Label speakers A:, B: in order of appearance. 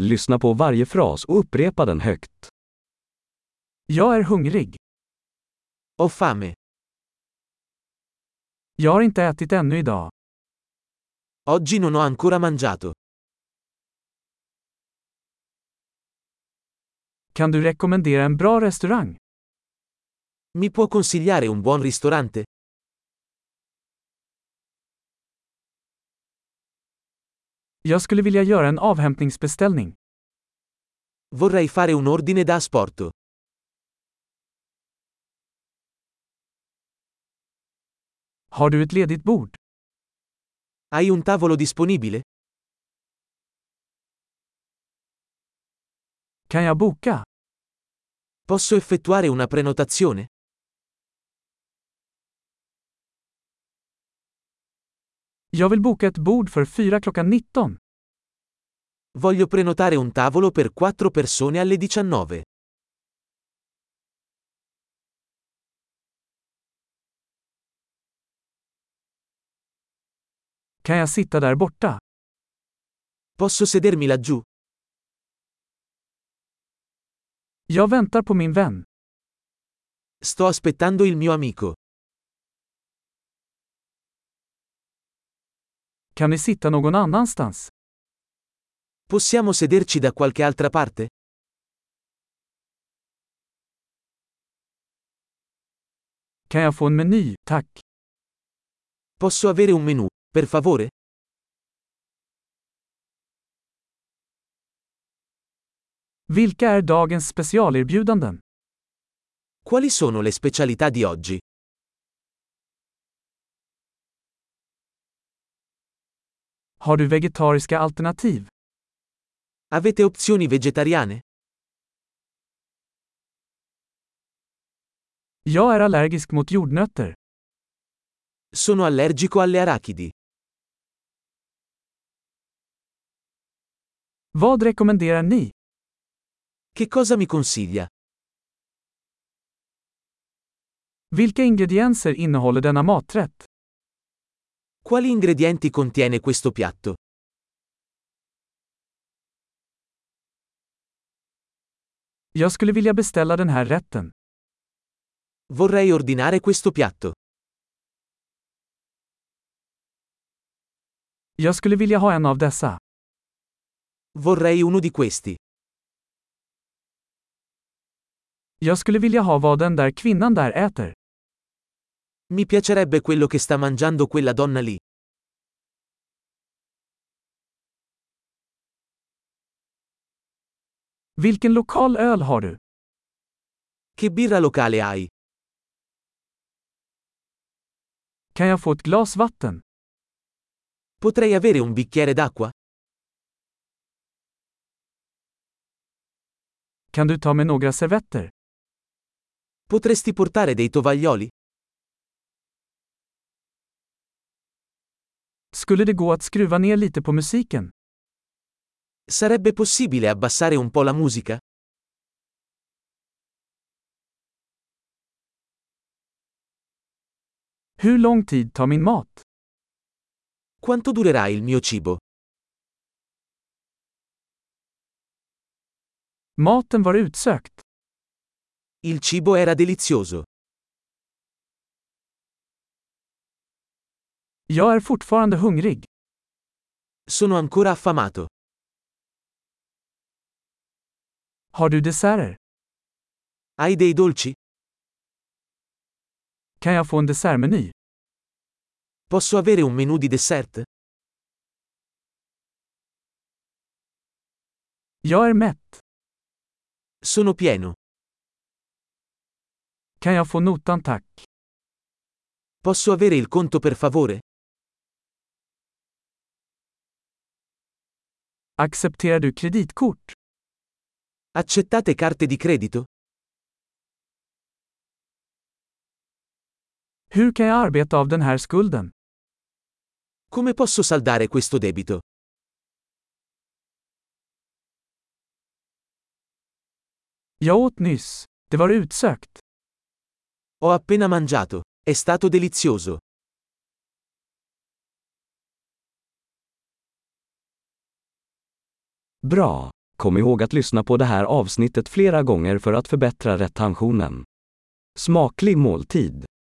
A: Lyssna på varje fras och upprepa den högt.
B: Jag är hungrig.
C: Ho fame.
B: Jag har inte ätit ännu idag.
C: Oggi non ho ancora mangiato.
B: Kan du rekommendera en bra restaurang?
C: Mi può consigliare un buon ristorante?
B: Jag skulle vilja göra en avhämtningsbeställning.
C: Vorrei fare un ordine da asporto.
B: Har du ett ledigt bord?
C: Hai un tavolo disponibile?
B: Kan jag boka?
C: Posso effettuare una prenotazione?
B: Jag vill boka ett bord för fyra klockan 19.
C: Voglio prenotare un tavolo per 4 persone alle 19.
B: Kan jag sitta där borta?
C: Posso sedermi laggiù?
B: Jag väntar på min vän.
C: Sto aspettando il mio amico.
B: Kan ni sitta någon annanstans?
C: Possiamo sederci da qualche altra parte?
B: Kan jag få en meny, tack?
C: Posso avere un menù, per favore?
B: Vilka är dagens specialerbjudanden?
C: Quali sono le specialità di oggi?
B: Har du vegetariska alternativ?
C: Avete opzioni vegetariane?
B: Jag är allergisk mot jordnötter.
C: Sono allergico alle arachidi.
B: Vad rekommenderar ni?
C: Che cosa mi consiglia?
B: Vilka ingredienser innehåller denna maträtt?
C: Quali ingredienti contiene questo piatto?
B: Jag skulle vilja beställa den här rätten.
C: Vorrei ordinare questo piatto.
B: Jag skulle vilja ha en av dessa.
C: Vorrei uno di questi.
B: Jag skulle vilja ha vad den där kvinnan där äter.
C: Mi piacerebbe quello che sta mangiando quella donna lì.
B: Vilken lokal öl har du?
C: Che birra locale hai?
B: Kan jag få ett glas vatten?
C: Potrei avere un bicchiere d'acqua?
B: Kan du ta med några servetter?
C: Potresti portare dei tovaglioli?
B: Skulle det gå att skruva ner lite på musiken?
C: Sarebbe possibile abbassare un po' la musica?
B: Hur lång tid tar min mat?
C: Quanto durerà il mio cibo?
B: Maten var utsökt.
C: Il cibo era delizioso.
B: Jag är fortfarande hungrig.
C: Sono ancora affamato.
B: Har du desserter?
C: Hai dei dolci?
B: Kan jag få en dessertmeny?
C: Posso avere un menù di dessert?
B: Jag är mätt.
C: Sono pieno.
B: Kan jag få notan tack?
C: Posso avere il conto per favore?
B: Accepterar du kreditkort?
C: Accettate carte di credito?
B: Hur kan jag arbeta av den här skulden?
C: Come posso saldare questo debito?
B: Jag åt nyss. Det var utsökt.
C: Ho appena mangiato. È stato delizioso.
A: Bra! Kom ihåg att lyssna på det här avsnittet flera gånger för att förbättra retentionen. Smaklig måltid!